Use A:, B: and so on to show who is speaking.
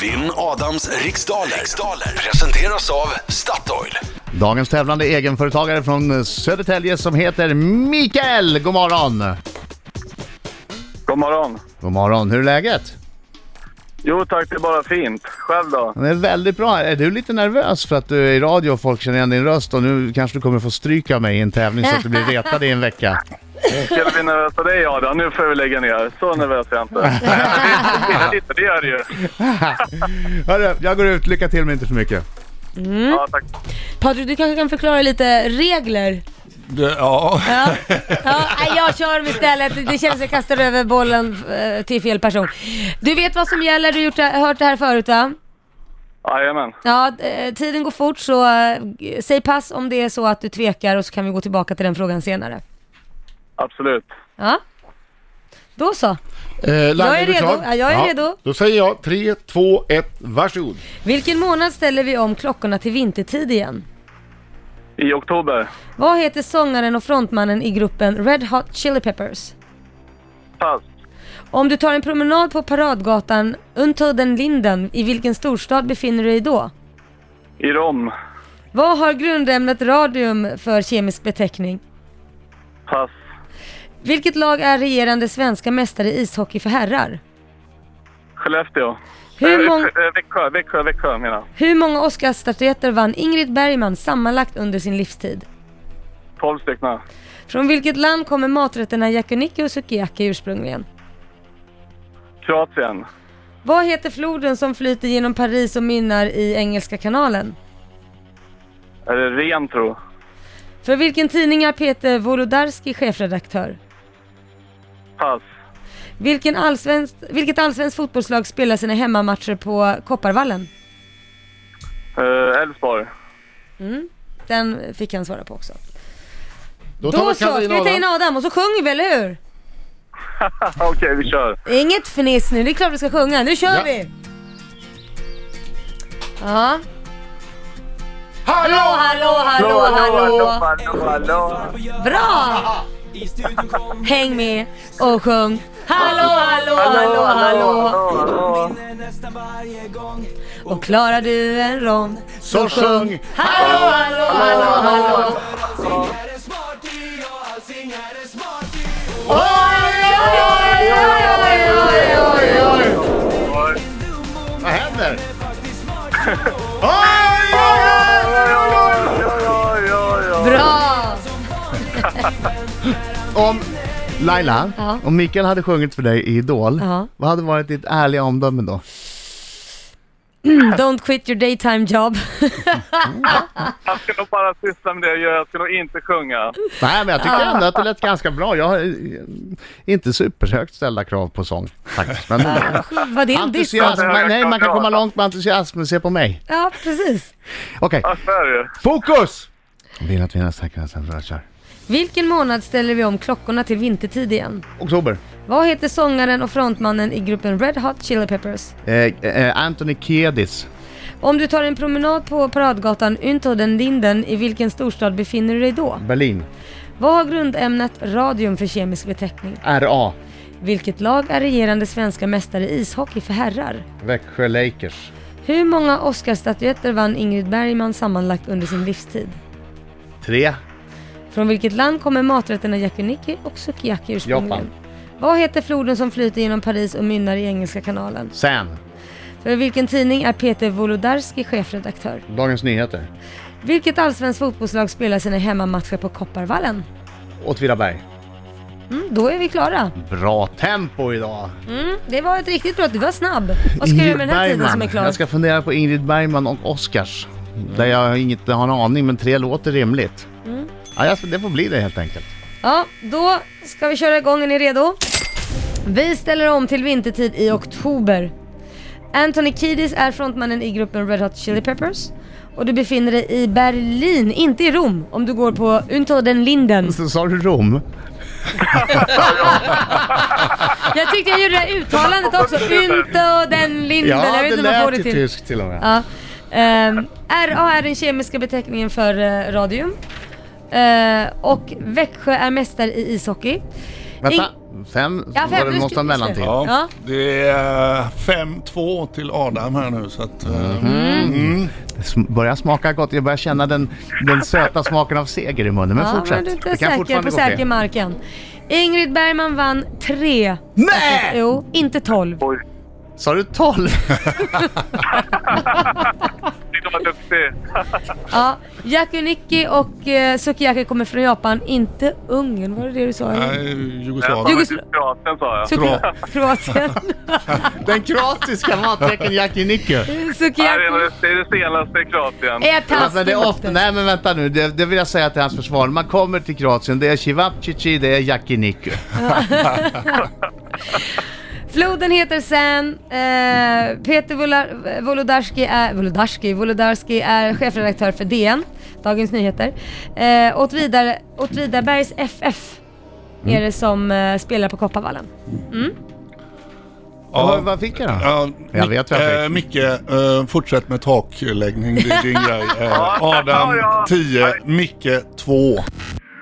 A: Vinn Adams riksdaler. riksdaler presenteras av Statoil.
B: Dagens tävlande är egenföretagare från Södertälje som heter Mikael. God morgon!
C: God morgon.
B: God morgon, hur är läget?
C: Jo tack, det är bara fint. Själv då?
B: Det är väldigt bra. Är du lite nervös för att du är i radio och folk känner igen din röst och nu kanske du kommer få stryka mig i en tävling så att du blir retad i en vecka?
C: Skulle bli nervös av dig Adam. Nu får vi lägga ner. Så nervös är jag inte. Nej, lite, det är det ju.
B: Hörru, jag går ut. Lycka till men inte för mycket.
D: Mm.
C: Ja, tack.
D: Patrik, du kanske kan förklara lite regler?
E: Ja,
D: Ja. Ja, nej, jag kör dem istället. Det känns som jag kastar över bollen eh, till fel person. Du vet vad som gäller, du har gjort det- hört det här förut va?
C: Jajamän.
D: Ja, eh, tiden går fort så eh, säg pass om det är så att du tvekar och så kan vi gå tillbaka till den frågan senare.
C: Absolut.
D: Ja. Då så.
F: Eh, Laila,
D: Jag är
F: du
D: redo.
F: klar?
D: Ja, jag är redo.
F: Då säger jag 3, 2, 1, varsågod.
D: Vilken månad ställer vi om klockorna till vintertid igen?
C: I oktober.
D: Vad heter sångaren och frontmannen i gruppen Red Hot Chili Peppers?
C: Pass.
D: Om du tar en promenad på Paradgatan under den linden, i vilken storstad befinner du dig då?
C: I Rom.
D: Vad har grundämnet radium för kemisk beteckning?
C: Pass.
D: Vilket lag är regerande svenska mästare i ishockey för herrar?
C: Skellefteå.
D: Hur,
C: Eh,
D: mång-
C: eh, Växjö, Växjö, Växjö menar jag.
D: hur många Oscarsstatyetter vann Ingrid Bergman sammanlagt under sin livstid?
C: 12 stycken.
D: Från vilket land kommer maträtterna yakuniku och sukiyaki ursprungligen?
C: Kroatien.
D: Vad heter floden som flyter genom Paris och mynnar i Engelska kanalen?
C: Är det ren tro?
D: För vilken tidning är Peter Wolodarski chefredaktör?
C: Pass.
D: Vilken allsvensk, vilket allsvenskt fotbollslag spelar sina hemmamatcher på Kopparvallen?
C: Eh, Elfsborg.
D: Den fick han svara på också.
F: Då
D: Då
F: tar
D: så,
F: vi
D: ska vi
F: Katarina
D: ta in
F: Adam.
D: Adam och så sjunger vi, eller hur?
C: Okej, vi kör.
D: Inget fniss nu, det är klart vi ska sjunga. Nu kör
F: Ja.
D: vi! Ja. Hallå,
F: Hallå!
D: hallå, hallå, hallå!
C: hallå, hallå.
D: Bra! Häng med och sjung. Hallå, hallå, hallå, hallå!
C: hallå.
D: Och klarar du en rond
F: Så sjung!
D: Hallå, hallå, hallå, hallå! Oj, oj, oj, oj, oj, oj!
F: Vad händer? Oj, oj, oj!
D: Bra!
B: Om Laila,
D: Ja.
B: om Mikael hade sjungit för dig i Idol,
D: Ja.
B: vad hade varit ditt ärliga omdöme då?
D: Don't quit your daytime job.
C: Jag ska nog bara syssla med det jag gör. Jag ska nog inte sjunga.
B: Nej, men jag tycker ändå att det lät ganska bra. Jag har eh, inte superhögt ställda krav på sång faktiskt. Men
D: Var det en diss?
B: entusiasm,
C: höga
B: nej, man kan
C: krav.
B: komma långt med entusiasm, men se på mig.
D: Ja, precis.
B: Okej,
C: Ja, så är det ju.
B: fokus! Vill att vinna säkra sen rör kör.
D: Vilken månad ställer vi om klockorna till vintertid igen?
B: Oktober.
D: Vad heter sångaren och frontmannen i gruppen Red Hot Chili Peppers?
B: Eh, eh, Anthony Kiedis.
D: Om du tar en promenad på Paradgatan unter den linden, i vilken storstad befinner du dig då?
B: Berlin.
D: Vad har grundämnet radium för kemisk beteckning?
B: RA.
D: Vilket lag är regerande svenska mästare i ishockey för herrar?
B: Växjö Lakers.
D: Hur många Oscarsstatyetter vann Ingrid Bergman sammanlagt under sin livstid?
B: 3.
D: Från vilket land kommer maträtterna yakiniki och sukiyaki ursprungligen?
B: Japan.
D: Vad heter floden som flyter genom Paris och mynnar i Engelska kanalen?
B: Sen.
D: För vilken tidning är Peter Wolodarski chefredaktör?
B: Dagens Nyheter.
D: Vilket allsvenskt fotbollslag spelar sina hemmamatcher på Kopparvallen?
B: Åtvidaberg.
D: Mm, då är vi klara.
B: Bra tempo idag.
D: Mm, det var ett riktigt bra, du var snabb. Vad ska du göra med den här tiden som är klar?
B: Jag ska fundera på Ingrid Bergman och Oscars. Där jag inget har en aning, men tre låter rimligt.
D: Mm.
B: Ja, jag, det får bli det helt enkelt.
D: Ja, då ska vi köra igång. Är ni redo? Vi ställer om till vintertid i oktober. Anthony Kiedis är frontmannen i gruppen Red Hot Chili Peppers. Och du befinner dig i Berlin, inte i Rom, om du går på Unter den Linden.
B: Så sa du Rom?
D: Jag tyckte jag gjorde det här uttalandet också. Unter den Linden. jag vet
B: det
D: inte om jag får det
B: lät ju
D: till.
B: tyskt till och med.
D: Ja. Ehm, RA är den kemiska beteckningen för eh, radium. Eh, och Växjö är mästare i ishockey.
B: Vänta,
D: In-
B: Fem?
D: Ja, fem,
B: Var det
D: du
B: måste
D: skulle-
B: ha mellan till.
E: Ja,
D: Ja.
E: det är 5-2 till Adam här nu så att... eh,
B: Mhm.
E: Mm.
B: Det sm- börjar smaka gott. Jag börjar känna den, den söta smaken av seger i munnen. Men
D: ja,
B: fortsätt.
D: men du är inte
B: Det kan
D: säker
B: fortfarande
D: på
B: gå fel.
D: säker marken. Ingrid Bergman vann tre.
B: Nej!
D: Jo, inte tolv.
C: Oj.
B: Sa du 12?
C: Titta vad duktig.
D: Ja, Yakuniki och eh, Sukiyaki kommer från Japan, inte Ungern. Var det det du sa? eller?
E: Nej,
D: Du-
E: Jugoslavien.
D: Jugosl-
C: Kroatien sa jag.
D: Suki- Kroatien.
B: Den kroatiska maträtten Yakiniku.
C: Nej, det, är
D: Sukiyaki
C: det, det är det senaste i Kroatien.
D: är
B: Alltså, det är
D: taskigt.
B: ofta, nej men vänta nu, det, det vill jag säga till hans försvar. Man kommer till Kroatien, det är Cevapcici, det är Yakiniku.
D: Floden heter Sen. Eh, Peter Vola- Wolodarski är, Wolodarski, Wolodarski är chefredaktör för DN, Dagens Nyheter. Eh, åt, vidare, åt Vidarbergs FF
B: Mm.
D: är det som eh, spelar på Kopparvallen.
B: Vad- vad fick jag då?
E: Ja,
B: Jag
E: Mic-
B: vet vad jag fick.
E: eh, Micke, eh, fortsätt med takläggning. Det är din grej. Eh, Adam
C: Ja, ja.
E: 10, Micke 2.
F: Riks